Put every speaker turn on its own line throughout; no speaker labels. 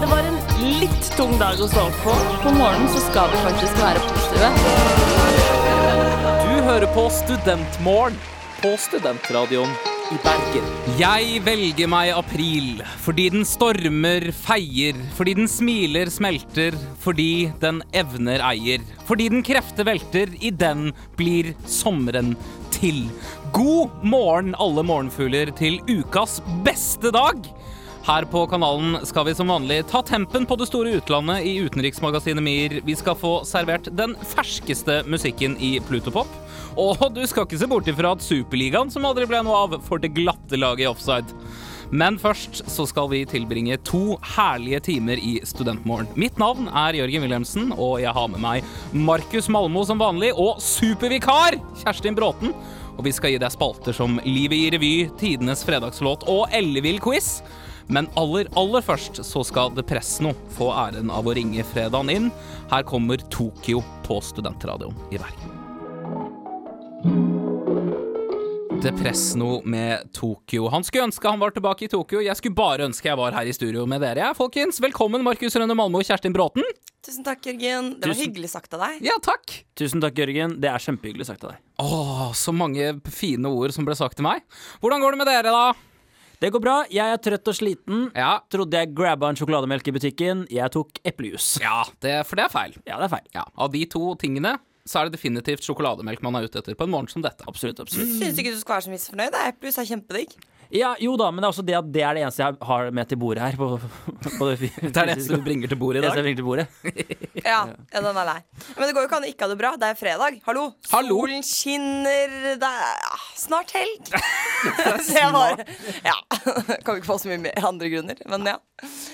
Det var en litt tung dag å stå opp på. På morgenen så skal vi faktisk være på stue.
Du hører på Studentmorgen på Studentradioen i Bergen.
Jeg velger meg april, fordi den stormer, feier, fordi den smiler, smelter, fordi den evner, eier, fordi den krefter velter, i den blir sommeren til. God morgen, alle morgenfugler, til ukas beste dag! Her på kanalen skal vi som vanlig ta tempen på det store utlandet i utenriksmagasinet MIR. Vi skal få servert den ferskeste musikken i Plutopop. Og du skal ikke se bort ifra at Superligaen, som aldri ble noe av, får det glatte laget i offside. Men først så skal vi tilbringe to herlige timer i Studentmorgen. Mitt navn er Jørgen Wilhelmsen, og jeg har med meg Markus Malmo som vanlig, og supervikar Kjerstin Bråten. Og vi skal gi deg spalter som Livet i revy, Tidenes fredagslåt og Ellevill quiz. Men aller, aller først så skal The Presno få æren av å ringe fredagen inn. Her kommer Tokyo på studentradioen i Bergen. Depresno med Tokyo. Han skulle ønske han var tilbake i Tokyo. Jeg skulle bare ønske jeg var her i studio med dere, jeg, folkens. Velkommen, Markus Rønne Malmo og Kjerstin Bråten.
Tusen takk, Jørgen. Det var
Tusen-
hyggelig sagt av deg.
Ja, takk.
Tusen takk, Jørgen. Det er kjempehyggelig sagt av deg.
Å, så mange fine ord som ble sagt til meg. Hvordan går det med dere, da?
Det går bra. Jeg er trøtt og sliten.
Ja,
Trodde jeg grabba en sjokolademelk i butikken. Jeg tok eplejus.
ja det, for det er feil.
Ja, det er feil.
Ja, Av de to tingene så er det definitivt sjokolademelk man er ute etter på en morgen som dette. Mm.
Absolutt, absolutt.
Syns ikke du skal være så misfornøyd. Det er pluss er kjempedigg.
Ja, jo da, men det er også det at det er det eneste jeg har med til bordet her. På, på det, fysiske-
Det er det eneste du bringer til bordet i
eneste jeg
dag.
bringer til bordet.
Ja, ja, den er lei. Men det går jo ikke an å ikke ha det bra. Det er fredag. Hallo.
Hallo.
Solen skinner. Det er ah, snart helg. Det var Ja. Kan vi ikke få så mye mer andre grunner, men ja.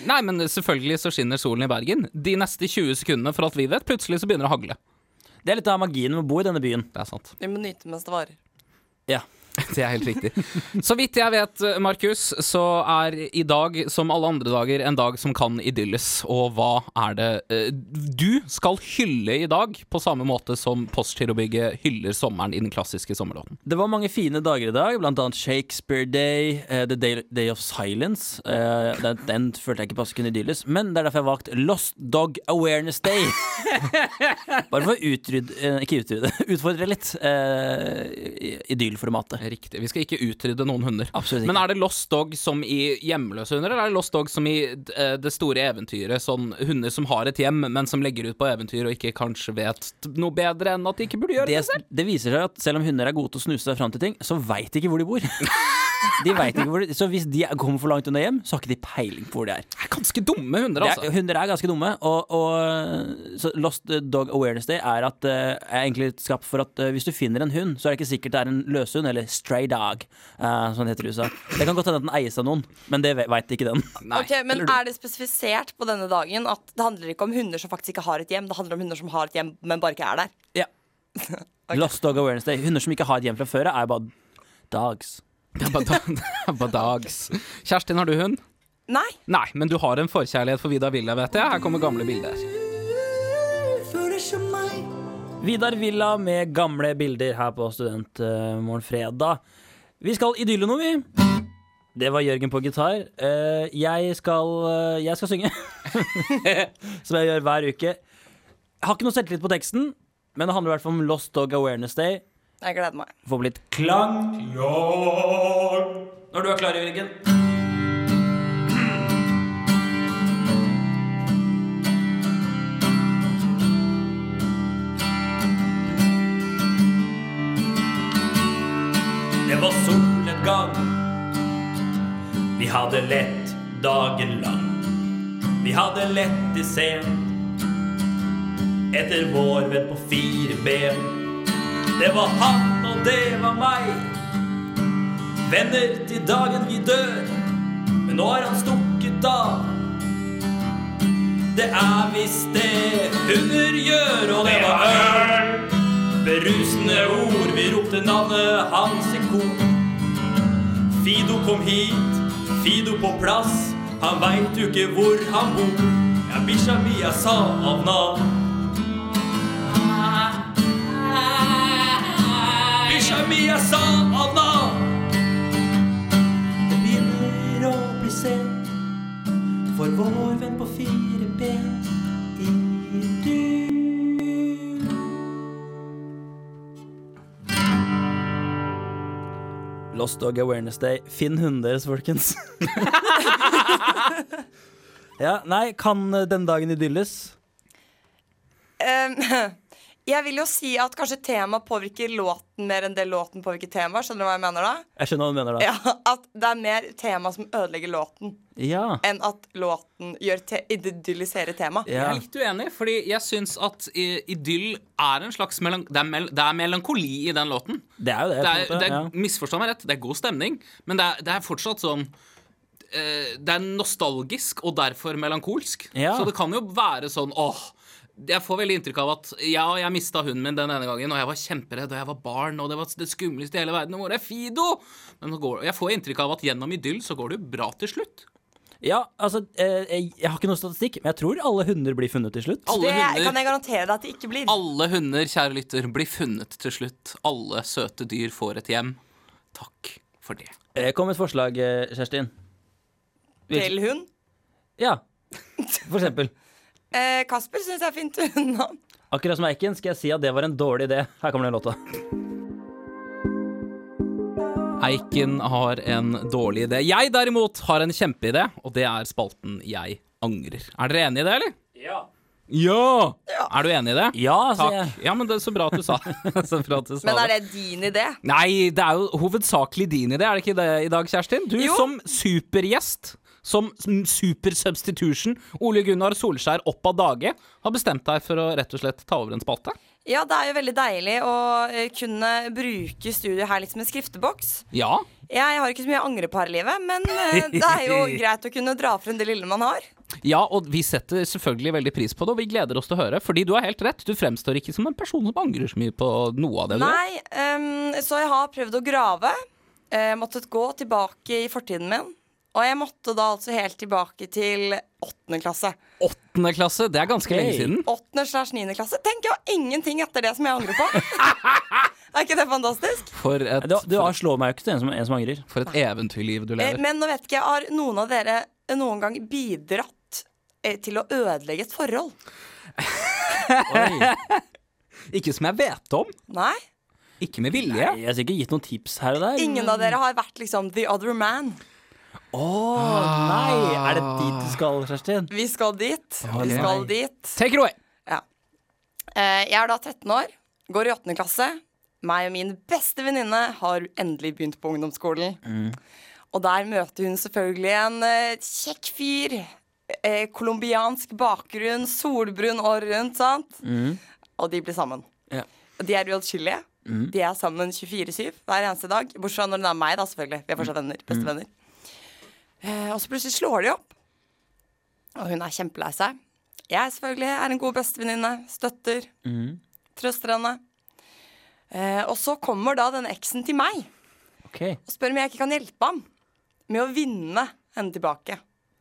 Nei, men selvfølgelig så skinner solen i Bergen. De neste 20 sekundene, for alt vi vet, plutselig så begynner det å hagle.
Det er litt av magien med å bo i denne byen.
Det er sant.
Vi må nyte mens det varer.
Ja.
Det er helt riktig. Så vidt jeg vet, Markus, så er i dag, som alle andre dager, en dag som kan idylles. Og hva er det eh, du skal hylle i dag, på samme måte som Postgirobygget hyller sommeren i den klassiske sommerlåten?
Det var mange fine dager i dag, blant annet Shakespeare Day, eh, The Day, Day of Silence. Eh, den, den følte jeg ikke passet kunne idylles, men det er derfor jeg har valgt Lost Dog Awareness Day. Bare for å utrydde, eh, ikke utrydde, utfordre litt eh, i- idyllformatet.
Riktig. Vi skal ikke utrydde noen hunder.
Absolutt ikke.
Men er det lost dog som i hjemløse hunder, eller er det lost dog som i eh, det store eventyret? Sånn hunder som har et hjem, men som legger ut på eventyr og ikke kanskje vet noe bedre enn at de ikke burde gjøre det.
det, det viser seg at selv om hunder er gode til å snuse seg fram til ting, så veit de ikke hvor de bor. De vet ikke hvor de, så hvis de kommer for langt unna hjem, så har ikke de peiling på hvor de er.
Det er ganske dumme hunder,
Det
altså.
er, hunder er ganske dumme, og, og så Lost Dog Awareness Day er, at, eh, er egentlig skapt for at eh, hvis du finner en hund, så er det ikke sikkert det er en løshund, eller stray dog, eh, som det heter i USA. Det kan godt hende at den eies av noen, men det veit ikke den.
Nei,
Ok, men Er det spesifisert på denne dagen at det handler ikke om hunder som faktisk ikke har et hjem, det handler om hunder som har et hjem, men bare ikke er der?
Ja. Lost Dog Awareness Day. Hunder som ikke har et hjem fra før, er bare dogs.
Det er bare, da, det er bare dags. Kjerstin, har du hund?
Nei.
Nei, men du har en forkjærlighet for Vida Villa, vet jeg. Her kommer gamle bilder.
Vidar Villa med gamle bilder her på Studentmorgen fredag. Vi skal idylle noe, vi. Det var Jørgen på gitar. Eh, Jeg skal, eh, jeg skal synge. Som jeg gjør hver uke. Jeg har ikke noe selvtillit på teksten, men det handler i hvert fall om Lost Dog Awareness Day.
Jeg gleder meg.
Få opp litt klang. Når du er klar, Jørgen. Det var solnedgang. Vi hadde lett dagen lang. Vi hadde lett til sent. Etter vår venn på fire ben. Det var han, og det var meg. Venner til dagen vi dør. Men nå har han stukket av. Det er visst det hunder gjør, og det var øl. Berusende ord, vi ropte navnet hans i kor. Fido kom hit, Fido på plass. Han veit jo ikke hvor han bor. Ja, bikkja mi er savna. Bikkja mi er savna. Det begynner å bli sent.
Ulven på fire ben i du. Lost Dog Awareness Day. Finn hunden deres, folkens. ja, nei, kan den dagen idylles?
Eh, jeg vil jo si at kanskje temaet påvirker låten mer enn det låten påvirker temaet. Skjønner du hva jeg mener da?
Jeg skjønner hva du mener da.
Ja, At det er mer tema som ødelegger låten,
Ja.
enn at låten gjør te idylliserer temaet.
Jeg
ja.
er litt uenig, fordi jeg syns at i- idyll er en slags melan det, er mel det er melankoli i den låten.
Det er jo det.
Det
på en
er,
måte,
det er,
ja.
misforstå meg rett, det er god stemning, men det er, det er fortsatt sånn eh, Det er nostalgisk og derfor melankolsk.
Ja.
Så det kan jo være sånn åh jeg får veldig inntrykk av at ja, jeg mista hunden min den ene gangen, og jeg var kjemperedd, og jeg var barn, og det var det skumleste i hele verden, og hvor er Fido? Men så går, jeg får inntrykk av at gjennom idyll så går det jo bra til slutt.
Ja, altså, eh, jeg jeg har ikke noe statistikk, men jeg tror alle hunder blir funnet til slutt.
Alle
Det
hunder
kan jeg garantere deg at det ikke blir.
Alle hunder, kjære lytter, blir funnet til slutt. Alle søte dyr får et hjem. Takk for det.
Eh, Kom med et forslag, eh, Kjerstin.
Til hun.
Ja, for eksempel.
Eh, Kasper syns jeg er fint unna.
Akkurat som Eiken skal jeg si at det var en dårlig idé. Her kommer den låta.
Eiken har en dårlig idé. Jeg derimot har en kjempeidé, og det er spalten Jeg angrer. Er dere enig i det, eller? Ja! Er du enig i det?
Ja, altså,
Takk.
jeg-
Ja, men det er så bra at du sa så bra at du sa
Men
det.
er det din idé?
Nei, det er jo hovedsakelig din idé, er det ikke det i dag, Kjerstin? Du
Jo.
som supergjest, som supersubstitution, Ole Gunnar Solskjær opp av dage, har bestemt deg for å rett og slett ta over en spalte.
Ja, det er jo veldig deilig å eh, kunne bruke studio her litt som en skrifteboks.
Ja.
Jeg har ikke så mye å angre på her i livet, men eh, det er jo greit å kunne dra frem det lille man har.
ja, og vi setter selvfølgelig veldig pris på det, og vi gleder oss til å høre, fordi du har helt rett. Du fremstår ikke som en person som angrer så mye på noe av det du gjør.
Nei, ehm, så jeg har prøvd å grave. Eh, måttet gå tilbake i fortiden min. Og jeg måtte da altså helt tilbake til åttende klasse.
Åttende klasse, det er ganske lenge
Hey.
siden.
Åttende slash niende klasse. Tenk, jeg har ingenting etter det som jeg angrer på! er ikke det fantastisk?
For et,
Du, du har slå meg jo ikke til en som, en som angrer.
for et eventyrliv du
Eh,
lever.
men nå vet ikke jeg, har noen av dere noen gang bidratt eh, til å ødelegge et forhold?
Ikke som jeg vet om.
Nei?
Ikke med vilje.
Jeg har sikkert gitt noen tips her og der.
Ingen av dere har vært liksom the other man.
Å, nei! Er det dit du skal, Kjerstin?
Vi skal dit.
ok.
Vi skal dit.
Take it away.
Ja. Eh, Jeg er da 13 år, går i 8. klasse. Meg og min beste venninne har endelig begynt på ungdomsskolen. Og der møter hun selvfølgelig en eh, kjekk fyr. eh, Colombiansk bakgrunn, solbrun år rundt, sant? Og de blir sammen.
Ja.
Og de er uatskillelige. De er sammen 24-7 hver eneste dag. Bortsett fra når hun er meg, da, selvfølgelig. Vi er fortsatt venner. Bestevenner. Eh, Og så plutselig slår de opp. Og hun er kjempelei seg. Jeg selvfølgelig er en god bestevenninne. Støtter. Trøster henne. Eh, og så kommer da denne eksen til meg
Ok.
og spør om jeg ikke kan hjelpe ham med å vinne henne tilbake.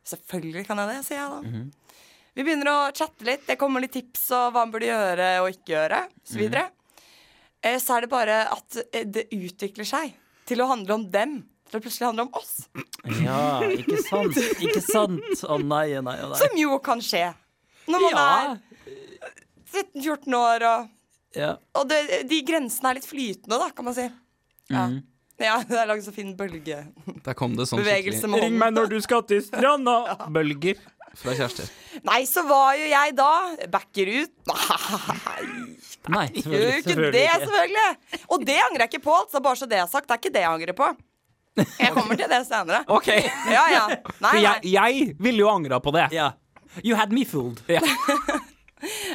Selvfølgelig kan jeg det, sier jeg da. Vi begynner å chatte litt. Det kommer litt tips om hva han burde gjøre og ikke gjøre. Så, videre. eh, så er det bare at eh, det utvikler seg til å handle om dem. Til å plutselig handle om oss.
Ja, ikke sant. Ikke sant. Å nei, å nei, å nei.
Som jo kan skje. Når man
Ja.
er 13-14 år og
ja.
Og det, de grensene er litt flytende, da, kan man si. Ja, ja det er laget så fin bølgebevegelse
Der kom det sånn skikkelig
med hånden.
når du skal til stranda. Bølger.
fra Kjersti.
Nei, så var jo jeg da backer ut. Nei,
Nei,
gjør
selvfølgelig,
jo ikke det,
selvfølgelig ikke.
selvfølgelig. Og det angrer jeg ikke på, altså, bare så det er sagt. Det er ikke det jeg angrer på. Jeg kommer til det senere.
Ok.
Ja, ja. Nei,
For jeg,
nei.
jeg ville jo angra på det.
Ja. You had me fooled.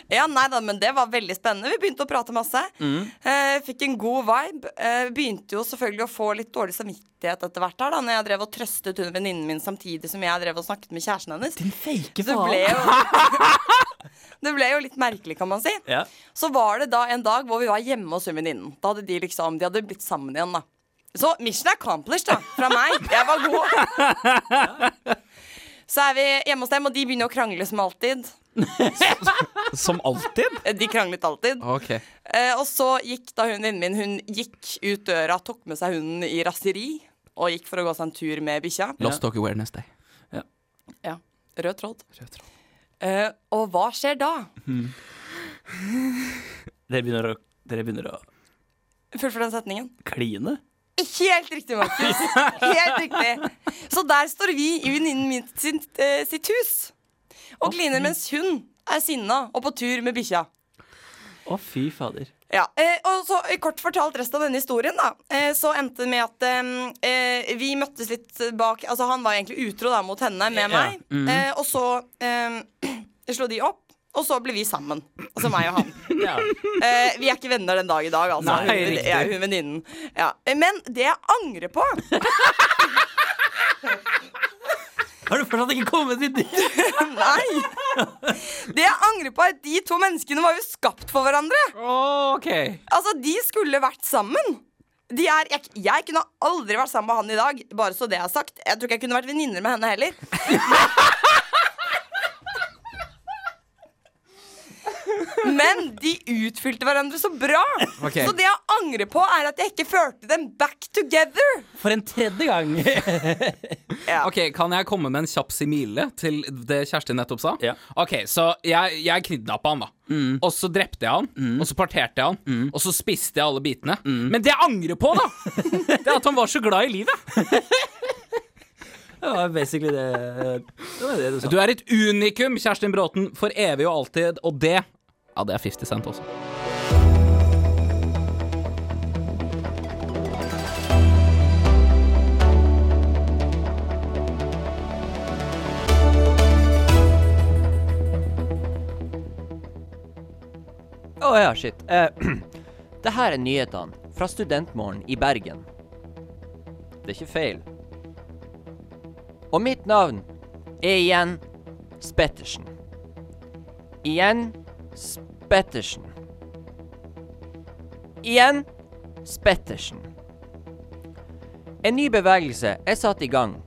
Ja, nei da, men det var veldig spennende. Vi begynte å prate masse. Eh, fikk en god vibe. Eh, begynte jo selvfølgelig å få litt dårlig samvittighet etter hvert her, da når jeg drev og trøstet hun venninnen min samtidig som jeg drev og snakket med kjæresten hennes.
Din fake
Det
faen.
ble jo Det ble jo litt merkelig, kan man si.
Ja.
Så var det da en dag hvor vi var hjemme hos hun venninnen. Da hadde de liksom De hadde blitt sammen igjen, da. Så mission accomplished, da. Fra meg. Jeg var god. Så er vi hjemme hos dem, og de begynner å krangle som alltid. Eh,
Som alltid.
De kranglet alltid.
Ok.
Eh, og så gikk da hun venninnen min Hun gikk ut døra, tok med seg hunden i raseri og gikk for å gå seg en tur med bikkja.
Lost Talk Awareness Day.
Ja. Rød tråd.
Rød tråd.
Eh, og hva skjer da?
Dere begynner å, dere begynner å
Fullfør den setningen.
kline.
Helt riktig, Markus. Helt riktig. Så der står vi i venninnen min sin, eh, sitt hus og kliner mens hun er sinna og på tur med bikkja.
Å, fy fader.
Ja, eh, og så eh, Kort fortalt resten av denne historien, da. Eh, så endte det med at eh, eh, vi møttes litt bak Altså, han var egentlig utro da mot henne med meg.
Mm.
eh, og så eh, slo de opp, og så ble vi sammen. Altså meg og han.
Ja.
Eh, vi er ikke venner den dag i dag, altså.
Nei,
hun,
riktig.
jeg, hun venninnen. Ja. Eh, Men det jeg angrer på
Har du fortsatt ikke kommet dit?
Nei! Det jeg angrer på, er at de to menneskene var jo skapt for hverandre.
OK.
Altså, de skulle vært sammen. De er, jeg, jeg kunne aldri vært sammen med han i dag, bare så det er sagt. Jeg tror ikke jeg kunne vært venninner med henne heller. Men de utfylte hverandre så bra.
Ok.
Så det jeg angrer på, er at jeg ikke førte dem back together.
For en tredje gang.
Ok, Kan jeg komme med en kjapp simile til det Kjersti nettopp sa?
Ja.
Ok, Så jeg, jeg kidnappa han, da. Og så drepte jeg han. Og så parterte jeg han. Og så spiste jeg alle bitene. Men det jeg angrer på, da, det er at han var så glad i livet.
Det var basically det Det var det du sa.
Du er et unikum, Kjerstin Bråten, for evig og alltid, og det Ja, det er 50 Cent også.
Å ja, shit. Eh, det her er nyhetene fra Studentmorgen i Bergen. Det er ikke feil. Og mitt navn er igjen Spettersen. Igjen Spettersen. Igjen Spettersen. En ny bevegelse er satt i gang.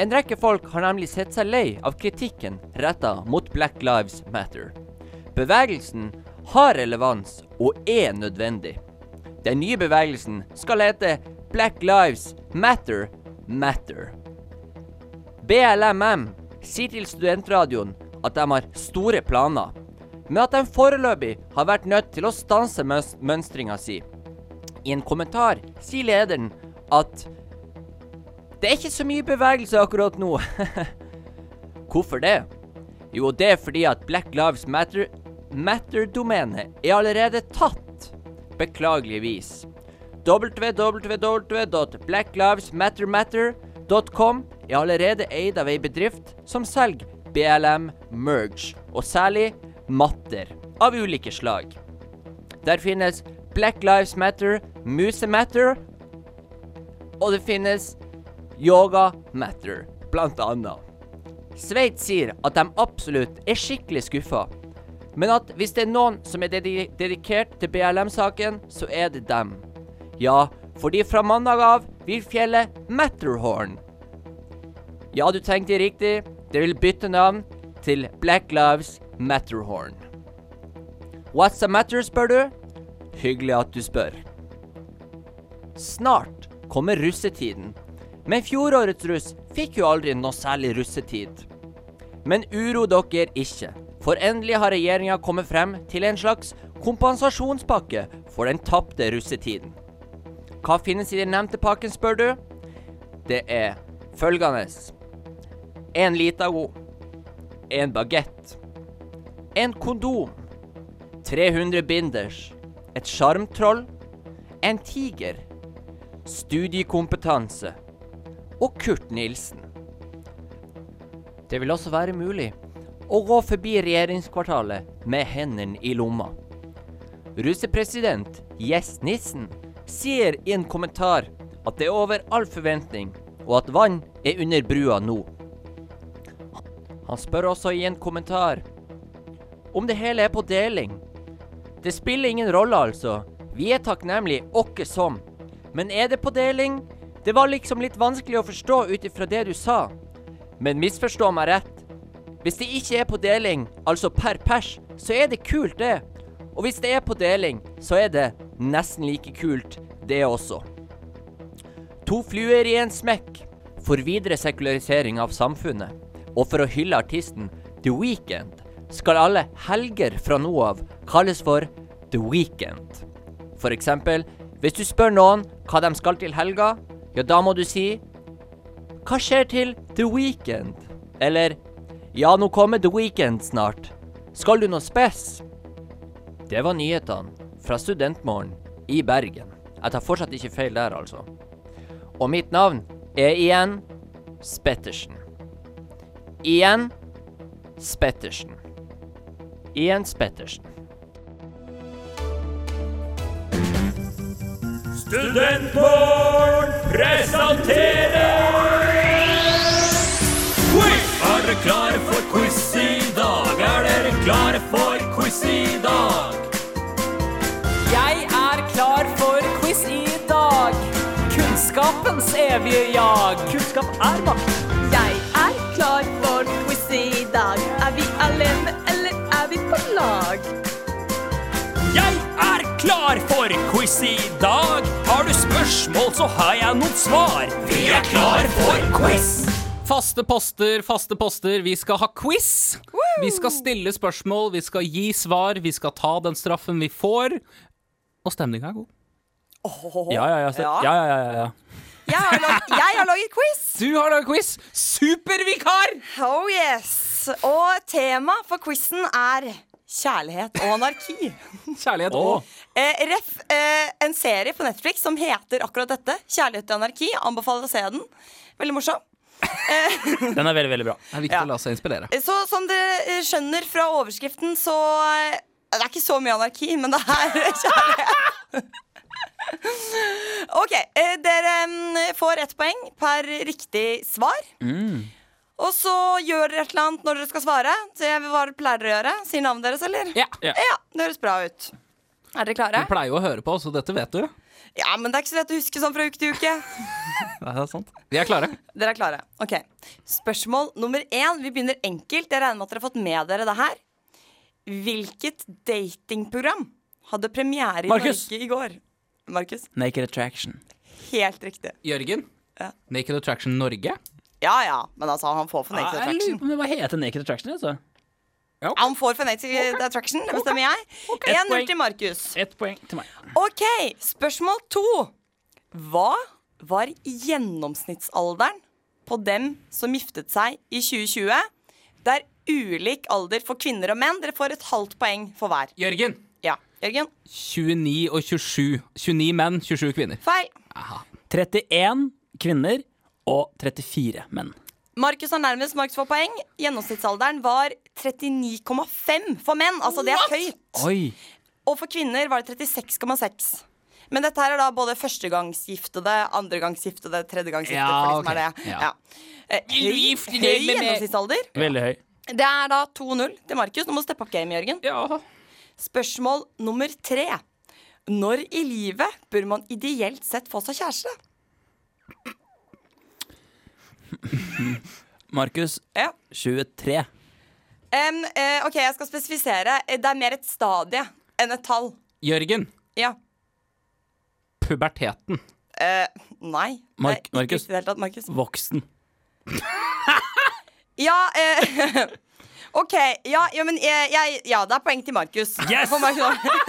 En rekke folk har nemlig sett seg lei av kritikken retta mot Black Lives Matter. Bevegelsen har relevans og er nødvendig. Den nye bevegelsen skal hete Black Lives Matter Matter. BLMM sier til studentradioen at de har store planer, men at de foreløpig har vært nødt til å stanse møns- mønstringa si. I en kommentar sier lederen at det er ikke så mye bevegelse akkurat nå. Hvorfor det? Jo, det er fordi at Black Lives Matter Matter-domenet er allerede tatt. Beklageligvis. www.blacklivesmattermatter.com er allerede eid av ei bedrift som selger BLM merge, og særlig matter av ulike slag. Der finnes Black Lives Matter, Muse Matter, og det finnes Yoga Matter, blant annet. Sveits sier at de absolutt er skikkelig skuffa. Men at hvis det er noen som er dedi dedikert til BLM-saken, så er det dem. Ja, fordi fra mandag av vil fjellet Matterhorn. Ja, du tenkte riktig. Det vil bytte navn til Black Lives Matterhorn. What's the matter, spør du? Hyggelig at du spør. Snart kommer russetiden. Men fjorårets russ fikk jo aldri noe særlig russetid. Men uro dere ikke, for endelig har regjeringa kommet frem til en slags kompensasjonspakke for den tapte russetiden. Hva finnes i den nevnte pakken, spør du? Det er følgende En Litago. En bagett. En kondom. 300 binders. Et sjarmtroll. En tiger. Studiekompetanse og Kurt Nilsen. Det vil også være mulig å gå forbi regjeringskvartalet med hendene i lomma. Russepresident Gjess Nissen sier i en kommentar at det er over all forventning, og at vann er under brua nå. Han spør også i en kommentar om det hele er på deling. Det spiller ingen rolle, altså. Vi er takknemlige åkke som. Men er det på deling? Det var liksom litt vanskelig å forstå ut ifra det du sa. Men misforstå meg rett. Hvis det ikke er på deling, altså per pers, så er det kult, det. Og hvis det er på deling, så er det nesten like kult, det også. To fluer i en smekk for videre sekularisering av samfunnet. Og for å hylle artisten The Weeknd skal alle helger fra nå av kalles for The Weekend. For eksempel, hvis du spør noen hva de skal til helga, ja da må du si Hva skjer til The Weekend? Eller Ja, nå kommer The Weekend snart. Skal du noe spes? Det var nyhetene fra Studentmorgen i Bergen. Jeg tar fortsatt ikke feil der, altså. Og mitt navn er igjen Spettersen. Igjen Spettersen. Igjen Spettersen.
Studentmorgen presenterer quiz! Er dere klare for quiz i dag? Er dere klare for quiz i dag?
Jeg er klar for quiz i dag. Kunnskapens evige jag. Kunnskap er makt.
Jeg er klar for quiz i dag. Er vi alene, eller er vi på lag?
Jeg er klar for quiz i dag. Har du spørsmål, så har jeg noen svar. Vi er klar for quiz!
Faste poster, faste poster. Vi skal ha quiz. Vi skal stille spørsmål, vi skal gi svar, vi skal ta den straffen vi får. Og stemninga er god. Ja, ja, ja.
Ja.
ja, ja, ja, ja.
Jeg har laget, jeg har laget quiz!
Du har laget quiz! Supervikar!
Oh yes! Og tema for quizen er kjærlighet og anarki.
Kjærlighet og
Eh, ref, eh, en serie på Netflix som heter akkurat dette. 'Kjærlighet og anarki'. Anbefaler å se den. Veldig morsom.
Den er veldig, veldig bra.
Det er viktig
Ja.
å la seg inspirere.
Eh, Så som dere eh, skjønner fra overskriften, så eh, Det er ikke så mye anarki, men det er kjærlighet. OK. eh, Dere mm, får ett poeng per riktig svar. Og så gjør dere et eller annet når dere skal svare. Så jeg vil bare pleier dere å gjøre. Sier navnet deres, eller?
Ja. ja.
ja. Det høres bra ut. Er dere klare?
Du pleier jo å høre på oss, og dette vet du.
Ja, men det er ikke så lett å huske sånn fra uke til uke.
Det er sant. Vi er klare.
Dere er klare. Ok, Spørsmål nummer én. Vi begynner enkelt. Jeg regner med at dere har fått med dere det her. Hvilket datingprogram hadde premiere i
Markus.
Norge i går? Markus.
Naked Attraction.
Helt riktig.
Jørgen?
Ja.
Naked Attraction Norge?
Ja ja, men altså, han får for Naked Attraction.
hva heter Naked Attraction? Altså?
Han får for Naked Attraction, det bestemmer jeg. 1-0 til Markus.
Ett poeng til meg.
Ok, spørsmål to. Hva var gjennomsnittsalderen på dem som giftet seg i 2020? Det er ulik alder for kvinner og menn. Dere får et halvt poeng for hver.
Jørgen!
Ja, Jørgen?
29 og 27. 29 menn, 27 kvinner.
Feil.
31 kvinner og 34 menn.
Markus er nærmest. Markus får poeng. Gjennomsnittsalderen var 39,5 for menn. Altså, det er høyt.
Oi.
Og for kvinner var det 36,6. Men dette her er da både førstegangsgiftede, andregangsgiftede, tredjegangsgiftede.
Ja,
for de som er
ok.
det.
Ja.
Ja. Eh, Høy,
Gift deg
høy
med meg.
gjennomsnittsalder.
Veldig høy.
Det er da 2-0 til Markus. Nå må du steppe opp gamet, Jørgen.
Ja.
Spørsmål nummer tre. Når i livet bør man ideelt sett få seg kjæreste?
Markus
Ja.
23.
Em, eh, OK, jeg skal spesifisere. Eh, Det er mer et stadie enn et tall.
Jørgen.
Ja.
Puberteten.
Eh, nei. Det er
Mark-
ikke
Markus?
riktig i det hele tatt, Markus.
Voksen.
Ja, eh, OK. Ja, ja men eh, jeg, ja, det er poeng til Markus.
Yes!
For meg nå.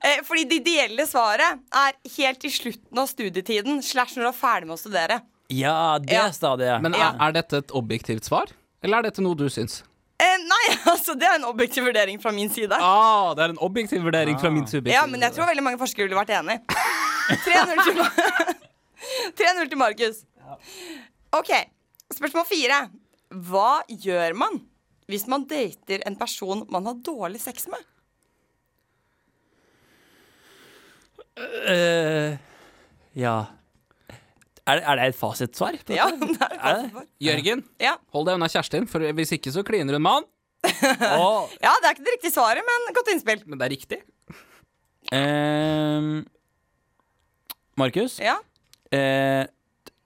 Eh, Fordi det ideelle svaret er helt i slutten av studietiden slash når du er ferdig med å studere.
Ja, det
Ja.
stadiet.
Men
Ja.
er, er dette et objektivt svar? Eller er dette noe du syns?
Eh, nei, altså, det er en objektiv vurdering fra min side.
Ah, det er en objektiv vurdering fra min subjektive
Ja, men jeg tror veldig mange forskere ville vært enig. 3-0 til, Mar- 3-0 til Markus. OK. Spørsmål fire. Hva gjør man hvis man dater en person man har dårlig sex med?
Eh, ja. Er, det- er det et fasitsvar? på
Ja,
dette?
det er et
Er det?
svar.
Jørgen,
ja.
hold deg unna Kjerstin, for hvis ikke så kliner hun med han.
Å,
ja, det er ikke det riktige svaret, men godt innspill.
Men det er riktig.
ehm, Markus?
Ja.
Eh,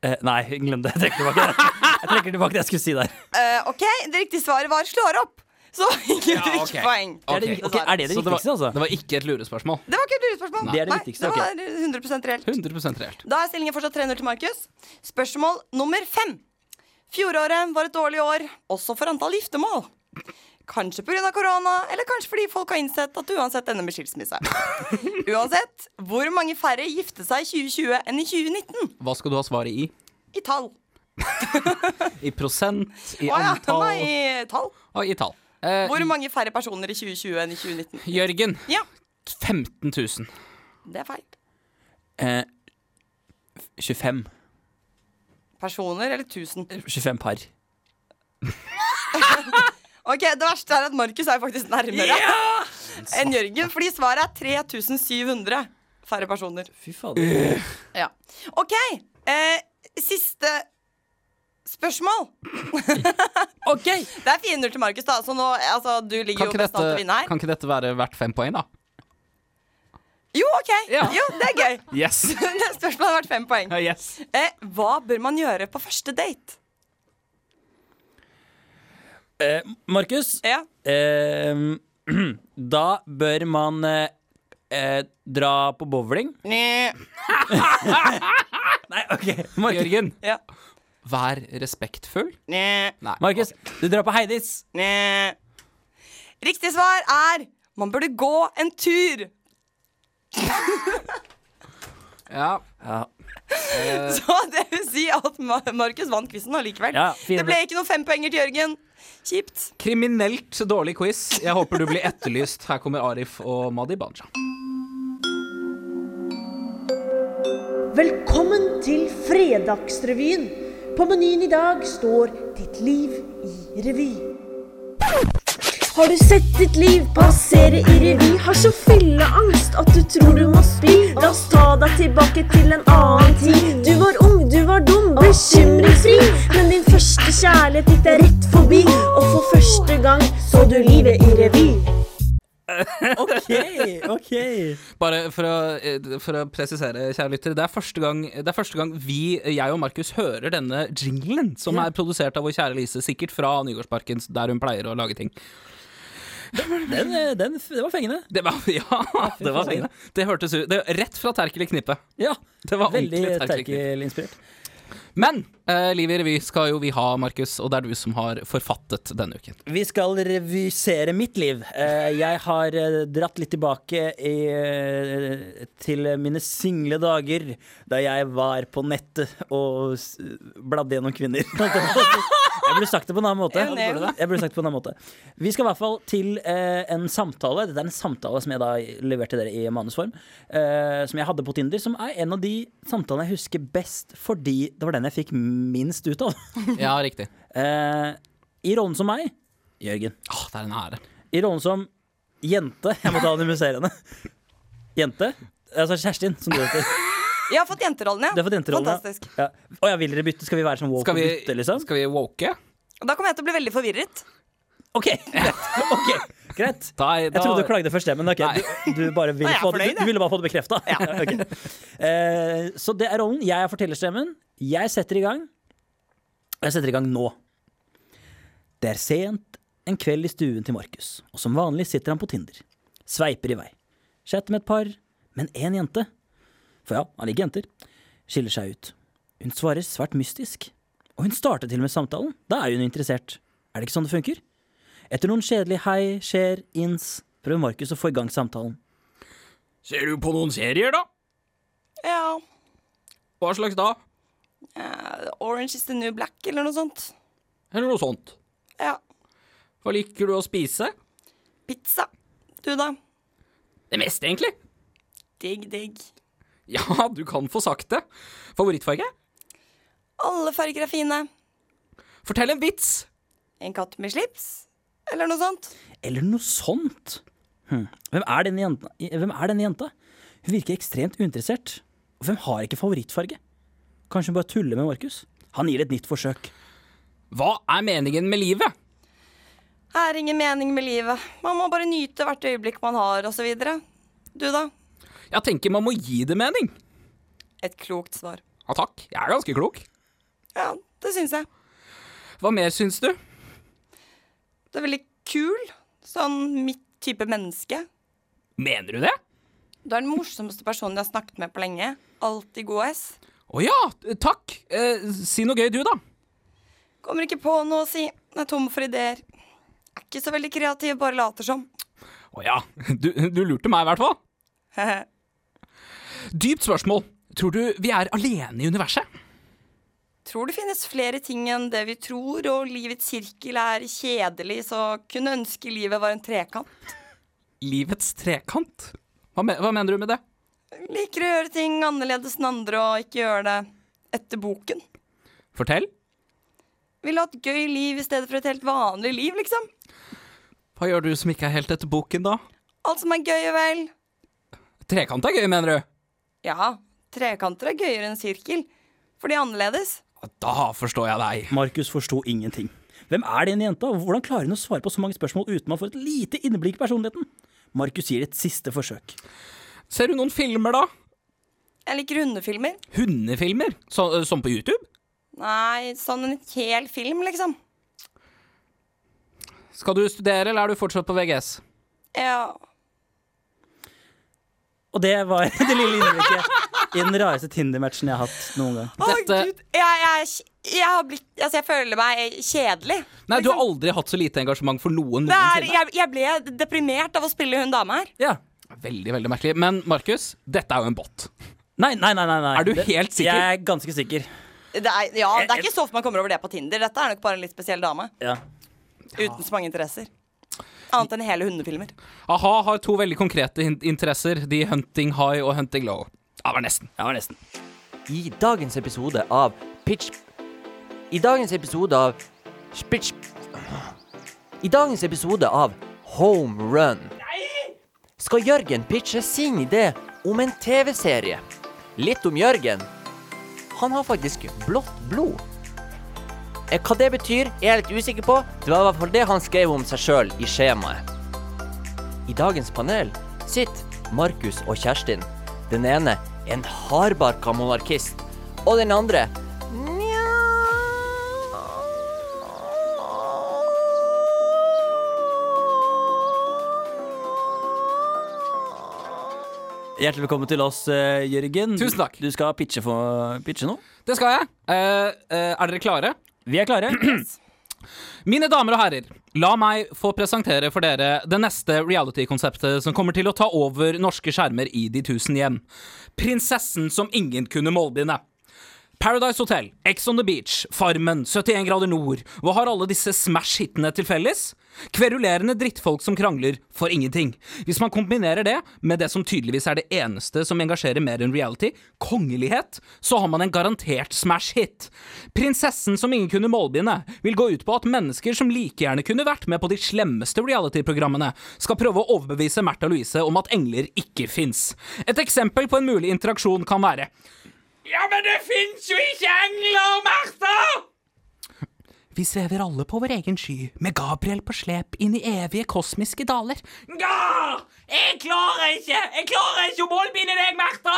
eh, nei, glem det. Jeg trekker tilbake det Jeg trekker tilbake det jeg skulle si der.
Eh, OK, det riktige svaret var slår opp. Så ingen
Ja,
fikk
ok.
poeng.
Er det,
Ok.
ok, er det det
Så det var-
viktigste, altså?
Det var ikke et lurespørsmål.
Det var ikke et lurespørsmål.
Det er det
Nei,
viktigste,
det
ok.
var 100 reelt.
100 reelt.
Da er stillingen fortsatt 3-0 til Markus. Spørsmål nummer fem. Fjoråret var et dårlig år, også for antall giftermål. Kanskje pga. korona, eller kanskje fordi folk har innsett at det uansett ender med skilsmisse. Uansett, hvor mange færre gifte seg i 2020 enn i 2019?
Hva skal du ha svaret i?
I tall.
I prosent, i
Å ja,
antall
nei, i tall.
og i tall. Eh,
Hvor mange færre personer i 2020 enn i 2019?
Jørgen,
Ja,
15 000.
det er feil.
Eh, 25.
Personer eller 1000?
25 par.
Ok, Det verste er at Markus er faktisk nærmere enn Jørgen, fordi svaret er 3700 færre personer.
Fy fader.
Ja. OK. Eh, siste spørsmål.
OK!
Det er 4-0 til Markus, da, så nå, altså, du ligger
Kan
jo
ikke,
best an til å vinne
dette,
her.
kan ikke dette være verdt fem poeng, da?
Jo, OK.
Ja.
Jo, det er gøy.
Yes.
det spørsmålet har vært fem poeng.
yes.
Eh, hva bør man gjøre på første date?
Eh, Markus,
Ja.
eh, da bør man eh, eh, dra på bowling. Nei, OK.
Jørgen,
Ja.
vær respektfull.
Nye.
Nei.
Markus, du drar på Heidis.
Nye. Riktig svar er man burde gå en tur.
Ja. Eh.
Så det vil si at Ma- Markus vant quizen allikevel.
Ja, fire-
det ble ikke noen fempoenger til Jørgen. Kjipt.
Kriminelt dårlig quiz. Jeg håper du blir etterlyst. Her kommer Arif og Madi Baja.
Velkommen til Fredagsrevyen. På menyen i dag står Ditt liv i revy. Har du sett ditt liv passere i revy? Har så fylleangst at du tror du må spy. La oss ta deg tilbake til en annen tid. Du var ung, du var dum, bekymringsfri. Men din første kjærlighet gikk deg rett forbi. Og for første gang så du livet i revy.
Bare for å, eh, for å presisere, kjære lyttere, det er første gang, det er første gang vi, jeg og Markus, hører denne jinglen, som er produsert av vår kjære Lise, sikkert fra Nygårdsparken, der hun pleier å lage ting.
Den, eh, den, det var fengende.
Det var, ja, det var fengende. Det hørtes ut det, Rett fra Terkel i knippet.
Ja,
Det var
Veldig
ordentlig Terkel i knippet.
Terkel-inspirert.
Men eh, Livet i revy skal jo vi ha, Markus, og det er du som har forfattet denne uken.
Vi skal revisere mitt liv. Eh, Jeg har eh, dratt litt tilbake i, eh, til mine single dager da jeg var på nettet og s- bladde gjennom kvinner. Jeg burde sagt det på en annen måte.
Ja, det burde
Jeg burde sagt det på en annen måte. Vi skal i hvert fall til eh, en samtale. Dette er en samtale som jeg da leverte dere i manusform. eh, som jeg hadde på Tinder. Som er en av de samtalene jeg husker best fordi det var den jeg fikk minst ut av.
Ja, riktig.
Eh, I rollen som meg, Jørgen.
Åh, Ah, det er en ære.
I rollen som jente. Jeg måtte anonymisere henne. Jente. Altså Kjerstin, som du heter.
Jeg har fått jenterollen, ja.
Du har fått jenterollen. ja.
Fantastisk.
Ja. Å ja, vil dere bytte? Skal vi være som woke
Skal vi,
og bytte, liksom?
skal vi woke?
Og Da kommer jeg til å bli veldig forvirret.
OK, greit. Ok, greit.
Da, da,
Jeg trodde du klagde først, det, men ok,
Nei.
du, du bare vil
Nei, jeg er
få det,
fornøyd,
du, du ville bare få det bekrefta. så det er rollen. Jeg er fortellerstemmen. Jeg setter i gang. Og jeg setter i gang nå. Det er sent en kveld i stuen til Markus, og som vanlig sitter han på Tinder. Sveiper i vei. Chatter med et par, men én jente. For ja, han liker jenter. Skiller seg ut. Hun svarer svært mystisk. Og hun starter til og med samtalen. Da er hun interessert. Er det ikke sånn det funker? Etter noen kjedelige hei, skjer, ins, prøver Markus å få i gang samtalen.
Ser du på noen serier, da?
Ja.
Hva slags da?
eh, Orange is the new black, eller noe sånt.
Eller noe sånt?
Ja.
Hva liker du å spise?
Pizza. Du, da?
Det meste, egentlig.
Digg, digg.
Ja, du kan få sagt det. Favorittfarge?
Alle farger er fine.
Fortell en vits.
En katt med slips, eller noe sånt.
Eller noe sånt. Hm. Hvem, er denne jenta? hvem er denne jenta? Hun virker ekstremt uinteressert. Og hvem har ikke favorittfarge? Kanskje hun bare tuller med Markus? Han gir et nytt forsøk.
Hva er meningen med livet?
Er ingen mening med livet. Man må bare nyte hvert øyeblikk man har, osv. Du, da?
Jeg tenker man må gi det mening.
Et klokt svar.
Ja takk, jeg er ganske klok.
Ja, det syns jeg.
Hva mer syns du?
Du er veldig kul. Sånn mitt type menneske.
Mener du det?
Du er den morsomste personen jeg har snakket med på lenge. Alltid god S.
Å ja, takk. Eh, si noe gøy du, da.
Kommer ikke på noe å si. Er tom for ideer. Er ikke så veldig kreativ, bare later som.
Å ja. Du, du lurte meg, i hvert fall. Dypt spørsmål. Tror du vi er alene i universet?
Tror det finnes flere ting enn det vi tror, og livets sirkel er kjedelig, så kunne ønske livet var en trekant.
Livets trekant? Hva, me hva mener du med det?
Liker å gjøre ting annerledes enn andre, og ikke gjøre det etter boken.
Fortell.
Vil ha et gøy liv i stedet for et helt vanlig liv, liksom.
Hva gjør du som ikke er helt etter boken, da?
Alt som er gøy og vel.
Trekant er gøy, mener du?
Ja, trekanter er gøyere enn sirkel, for de er annerledes.
Ja, Da forstår jeg deg.
Markus forsto ingenting. Hvem er den jenta, og hvordan klarer hun å svare på så mange spørsmål uten man får et lite innblikk i personligheten? Markus gir et siste forsøk.
Ser du noen filmer, da?
Jeg liker hundefilmer.
Hundefilmer? Så, som på YouTube?
Nei, sånn en hel film, liksom.
Skal du studere, eller er du fortsatt på VGS?
Ja.
Og det var det lille innblikket i den rareste Tinder-matchen jeg har hatt noen gang.
Å,
Dette-
Gud. Jeg, jeg, jeg har blitt Altså, jeg føler meg kjedelig. Liksom,
Nei, du har aldri hatt så lite engasjement for noen
Det er,
noensinne.
jeg, jeg ble deprimert av å spille hun dama her.
Ja.
Veldig, veldig merkelig. Men Markus, dette er jo en bot.
Nei, nei, nei, nei, nei.
Er du
Det-
helt sikker?
Jeg er ganske sikker.
Det er, ja, det er ikke så ofte man kommer over det på Tinder. Dette er nok bare en litt spesiell dame.
Ja.
Uten så mange interesser. Annet enn hele hundefilmer.
A-ha har to veldig konkrete in interesser. De hunting high og hunting low. Ja, det var nesten.
Jeg var nesten.
I dagens episode av Pitch... I dagens episode av Spitch... I dagens episode av Home Run skal Jørgen pitche sin idé om en TV-serie. Litt om Jørgen. Han har faktisk blått blod. Eh, Hva det betyr, er jeg litt usikker på. Det var i hvert fall det han skrev om seg sjøl i skjemaet. I dagens panel sitter Markus og Kjerstin. Den ene en hardbarka monarkist, og den andre nja
Hjertelig velkommen til oss, eh, Jørgen.
Tusen takk.
Du skal pitche, for, pitche nå.
Det skal jeg. Eh, eh, er dere klare?
Vi er klare.
Mine damer og herrer, la meg få presentere for dere det neste reality-konseptet som kommer til å ta over norske skjermer i De tusen hjem. Prinsessen som ingen kunne målbinde. Paradise Hotel, Ex on the Beach, Farmen, 71 grader nord. Hva har alle disse smash-hitene til felles? Kverulerende drittfolk som krangler for ingenting. Hvis man kombinerer det med det som tydeligvis er det eneste som engasjerer mer enn reality, kongelighet, så har man en garantert smash-hit. Prinsessen som ingen kunne målbinde, vil gå ut på at mennesker som like gjerne kunne vært med på de slemmeste reality-programmene, skal prøve å overbevise Märtha Louise om at engler ikke fins. Et eksempel på en mulig interaksjon kan være ja, men det fins jo ikke engler, Martha! Vi svever alle på vår egen sky, med Gabriel på slep inn i evige kosmiske daler. Ja! Jeg klarer ikke! Jeg klarer ikke å målbinde deg, Martha!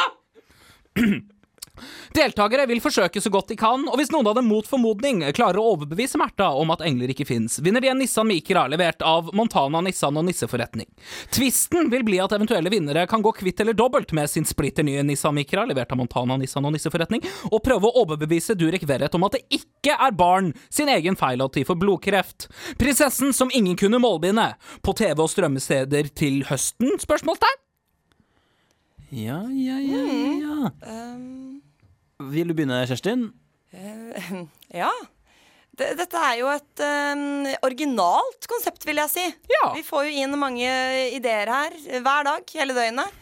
Deltakere vil forsøke så godt de kan, og hvis noen av dem mot formodning klarer å overbevise Märtha om at engler ikke fins, vinner de en Nissan Micra levert av Montana Nissan og Nisseforretning. Tvisten vil bli at eventuelle vinnere kan gå kvitt eller dobbelt med sin splitter nye Nissan Micra levert av Montana Nissan og Nisseforretning, og prøve å overbevise Durek Verrett om at det ikke er barn sin egen feil at de får blodkreft. Prinsessen som ingen kunne målbinde. På TV og strømmesteder til høsten? Spørsmålstegn?
Ja, ja, ja,
Mm.
ja.
Um,
Vil du begynne, Kjerstin?
Ja. Det, dette er jo et eh, originalt konsept, vil jeg si.
Ja.
Vi får jo inn mange ideer her eh, hver dag, hele døgnet.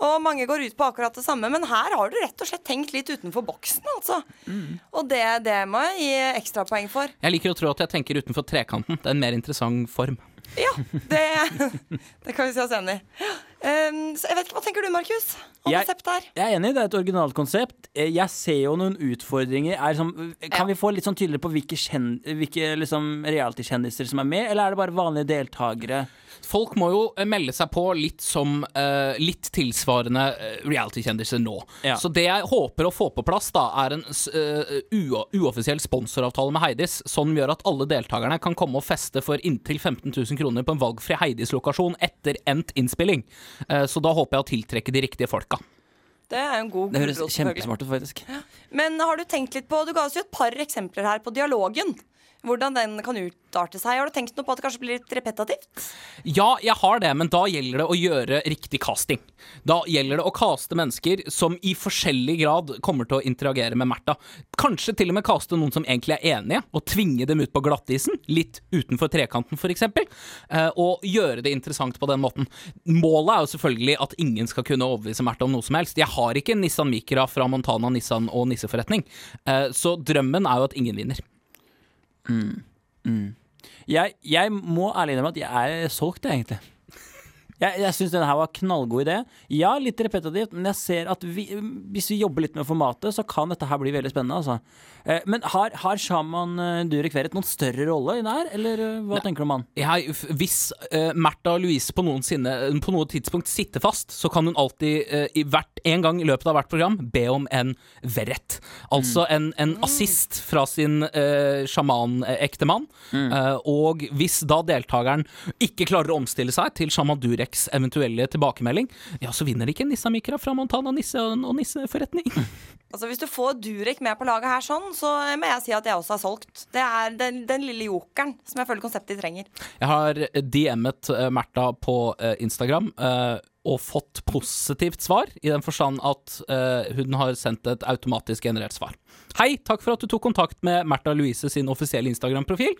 Og mange går ut på akkurat det samme, men her har du rett og slett tenkt litt utenfor boksen, altså.
Mm.
Og det, det må jeg gi ekstrapoeng for.
Jeg liker å tro at jeg tenker utenfor trekanten. Det er en mer interessant form.
Ja, det, det kan vi si oss enig i. Um, så jeg vet ikke, Hva tenker du, Markus? Om
Jeg-
konseptet her?
Jeg er enig, det er et originalt konsept. Eh, Jeg ser jo noen utfordringer. Er det sånn- kan vi få litt sånn tydeligere på hvilke, kjen- hvilke liksom reality-kjendiser som er med, eller er det bare vanlige deltakere?
Folk må jo eh, melde seg på litt som eh, litt tilsvarende eh, reality-kjendiser nå.
Ja.
Så det jeg håper å få på plass, da, er en s- eh, uo- uoffisiell sponsoravtale med Heidis, som gjør at alle deltakerne kan komme og feste for inntil 15 000 kroner på en valgfri Heidis-lokasjon etter endt innspilling. Eh, så da håper jeg å tiltrekke de riktige folka.
Det er jo en god
Det høres
gulrot, selvfølgelig.
kjempesmart ut, faktisk.
Men har du tenkt litt på Du ga oss jo et par eksempler her på dialogen. Hvordan den kan utarte seg. Har du tenkt noe på at det kanskje blir litt repetativt?
Ja, jeg har det, men da gjelder det å gjøre riktig casting. Da gjelder det å caste mennesker som i forskjellig grad kommer til å interagere med Märtha. Kanskje til og med caste noen som egentlig er enige, og tvinge dem ut på glattisen. Litt utenfor trekanten, f.eks. Eh, og gjøre det interessant på den måten. Målet er jo selvfølgelig at ingen skal kunne overbevise Märtha om noe som helst. Jeg har ikke en Nissan Micra fra Montana Nissan og nisseforretning, eh, så drømmen er jo at ingen vinner.
Jeg, jeg må ærlig innrømme at jeg er solgt, jeg, egentlig. Jeg, jeg syns denne her var knallgod idé. Ja, litt repetitivt, men jeg ser at vi, hvis vi jobber litt med formatet, så kan dette her bli veldig spennende. Altså. Eh, Men har, har Shaman eh, Durek Verret noen større rolle i det her, eller eh, hva tenker du om han?
jeg, f- hvis uh, Märtha Louise på, noensinne, på noe tidspunkt sitter fast, så kan hun alltid eh, i hvert, en gang i løpet av hvert program be om en verrett. Altså en, en assist fra sin uh, sjamanektemann. Eh, og hvis da deltakeren ikke klarer å omstille seg til sjaman Dureks eventuelle tilbakemelding, ja, så vinner ikke Nissa Mikra fra Montana Nisse og, og Nisseforretning.
Altså Hvis du får Durek med på laget her sånn, så må jeg si at jeg også er solgt. Det er den, den lille jokeren som jeg føler konseptet trenger.
Jeg har DM-et eh, Märtha på eh, Instagram. eh, og fått positivt svar, i den forstand at eh, hun har sendt et automatisk generert svar. Hei, takk for at du tok kontakt med Märtha Louise sin offisielle Instagram-profil.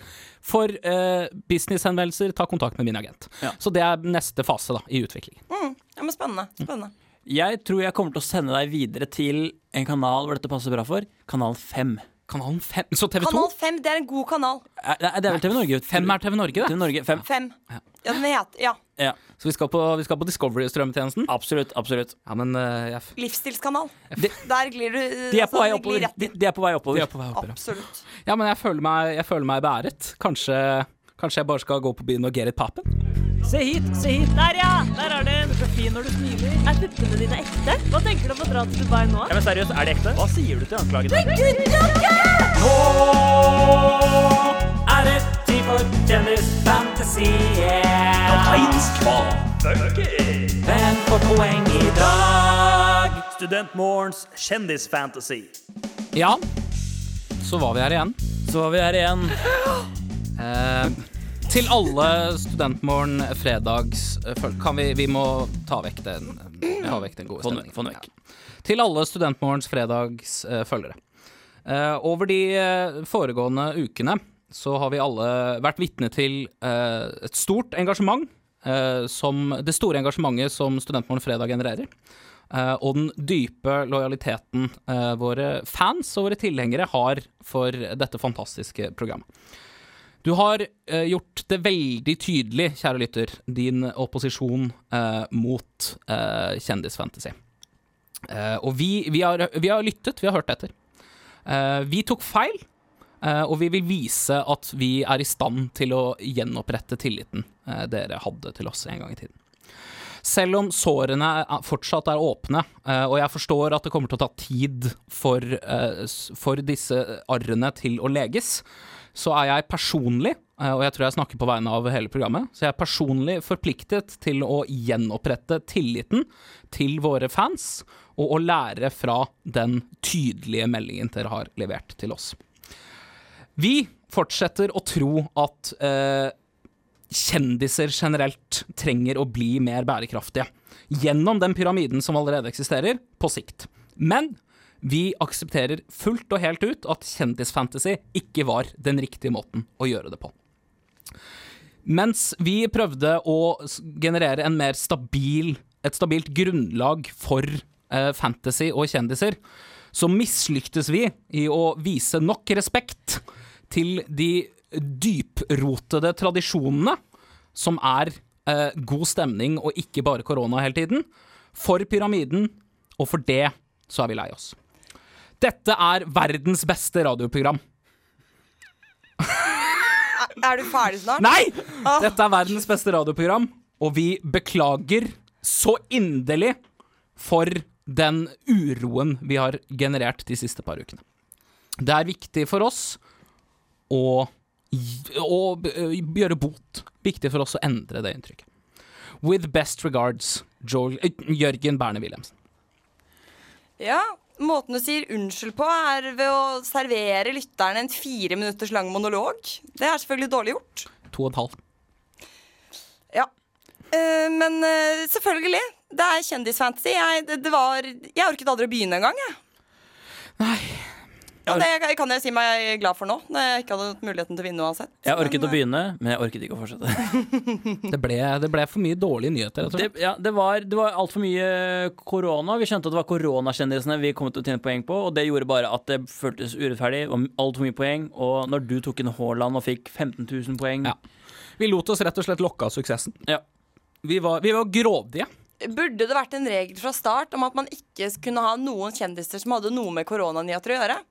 For eh, businesshenvendelser, ta kontakt med min agent. Så det er neste fase da, i utviklingen.
Ja, men Spennende. spennende.
Mm. Jeg tror jeg kommer til å sende deg videre til en kanal hvor dette passer bra for. Kanal 5.
Kanalen 5 Så TV 2?
Kanal 5 det er en god kanal.
Eh, Det er vel TV Norge?
5 er TV Norge,
TV
det.
Norge 5.
5. Ja, den heter Ja.
Ja,
Så vi skal på, vi skal på Discovery-strømmetjenesten.
absolutt. absolutt
Ja, men eh, jeg, f-
Livsstilskanal. Der glir du
De er på vei
altså, glir
oppover.
rett
De, de er på vei
vi
oppover.
er på vei oppover. ja.
Absolutt.
Ja, men jeg føler meg, jeg føler meg beæret. Kanskje, kanskje jeg bare skal gå på byen og get it poppen?
Se hit, se hit. Der, ja! Der er den. Du er så fin når du smiler. Er puppene dine ekte? Hva tenker du om å dra til Dubai nå?
Ja, men seriøst, er det ekte? Hva sier du til anklagene?
Er det tid for Dennis Fantasy? Hvem får poeng i dag?
Studentmorgens kjendisfantasy.
Ja, så var vi her igjen.
Så var vi her igjen.
Eh, til alle Studentmorgen fredagsfølg... Kan vi Vi må ta vekk den, ta vekk den gode
Få
stemningen.
den vekk, få den vekk.
Ja. Til alle Studentmorgens fredags eh, følgere. Eh, over de eh, foregående ukene så har vi alle vært vitne til eh, et stort engasjement. eh, som det store engasjementet som Studentmorgen fredag genererer. eh, og den dype lojaliteten eh, våre fans og våre tilhengere har for dette fantastiske programmet. Du har eh, gjort det veldig tydelig, kjære lytter, din opposisjon eh, mot eh, kjendisfantasy. Eh, og vi, vi, har, vi har lyttet, vi har hørt etter. Eh, vi tok feil, eh, og vi vil vise at vi er i stand til å gjenopprette tilliten eh, dere hadde til oss en gang i tiden. Selv om sårene er- fortsatt er åpne, eh, og jeg forstår at det kommer til å ta tid for, eh, s- for disse arrene til å leges, så er jeg personlig, eh, og jeg tror jeg snakker på vegne av hele programmet, så jeg er personlig forpliktet til å gjenopprette tilliten til våre fans, og å lære fra den tydelige meldingen dere har levert til oss. Vi fortsetter å tro at eh, kjendiser generelt trenger å bli mer bærekraftige. Gjennom den pyramiden som allerede eksisterer, på sikt. Men vi aksepterer fullt og helt ut at kjendisfantasy ikke var den riktige måten å gjøre det på. Mens vi prøvde å s- generere en mer stabil, et stabilt grunnlag for eh, fantasy og kjendiser, så mislyktes vi i å vise nok respekt til de dyprotede tradisjonene som er eh, god stemning og ikke bare korona hele tiden, for pyramiden, og for det så er vi lei oss. Dette er verdens beste radioprogram.
Er du ferdig snart?
Nei! Dette er verdens beste radioprogram, og vi beklager så inderlig for den uroen vi har generert de siste par ukene. Det er viktig for oss å, gi- å b- gjøre bot. Viktig for oss å endre det inntrykket. With best regards, Joel, eh, Jørgen Berne Wilhelmsen.
Ja, Måten du sier unnskyld på, er ved å servere lytterne en fire minutters lang monolog. Det er selvfølgelig dårlig gjort.
To og et halvt.
Ja. Eh, men eh, selvfølgelig. Det er kjendisfantasy. Jeg, det, det var, jeg orket aldri å begynne engang. Jeg.
Nei.
Og det kan jeg si meg glad for nå, når jeg ikke hadde hatt muligheten til å vinne uansett.
Jeg orket å begynne, men jeg orket ikke å fortsette.
Det ble, det ble for mye dårlige nyheter. rett og
Det,
slett.
ja, det var, det var altfor mye korona. Vi skjønte at det var koronakjendisene vi kom til å tjene poeng på, og det gjorde bare at det føltes urettferdig. Og altfor mye poeng. Og når du tok inn Haaland og fikk 15 000 poeng
Ja. Vi lot oss rett og slett lokke av suksessen.
Ja.
Vi var, vi var grådige.
eh, Burde det vært en regel fra start om at man ikke kunne ha noen kjendiser som hadde noe med koronanyheter å gjøre?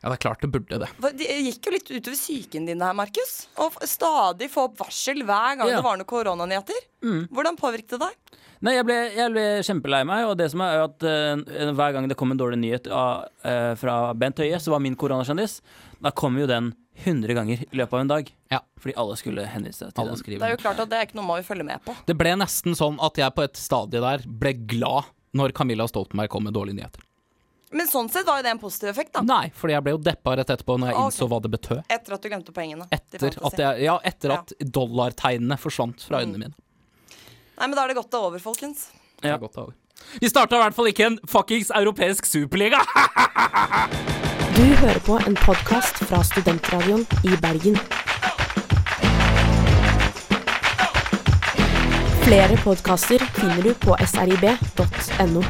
Ja, det er klart det burde det.
For Det gikk jo litt utover psyken din her, Markus. Å f- stadig få opp varsel hver gang
Ja.
det var noen koronanyheter.
Mm.
Hvordan påvirket det deg?
Nei, jeg ble, jeg ble kjempelei meg, og det som er er at eh, hver gang det kom en dårlig nyhet av, eh, fra Bent Høie, så var min koronakjendis, da kom jo den 100 ganger i løpet av en dag.
Ja.
Fordi alle skulle henvise til
Alle
Det
den.
er
skriver.
jo klart at det er ikke noe man vil følge med på.
Det ble nesten sånn at jeg på et stadie der ble glad når Camilla Stoltenberg kom med dårlige nyheter.
Men sånn sett var jo det en positiv effekt, da.
Nei, fordi jeg ble jo deppa rett etterpå når jeg
Ah, Ok.
innså hva det betød.
Etter at du glemte poengene. til
Etter
fantasy.
at, jeg, ja, etter at dollartegnene forsvant fra
Mm.
øynene mine.
Nei, men da er det godt det er over, folkens.
Det er godt det er over. Vi starta i hvert fall ikke en fuckings europeisk superliga!
Du hører på en podkast fra Studentradioen i Bergen. Flere podkaster finner du på srib.no.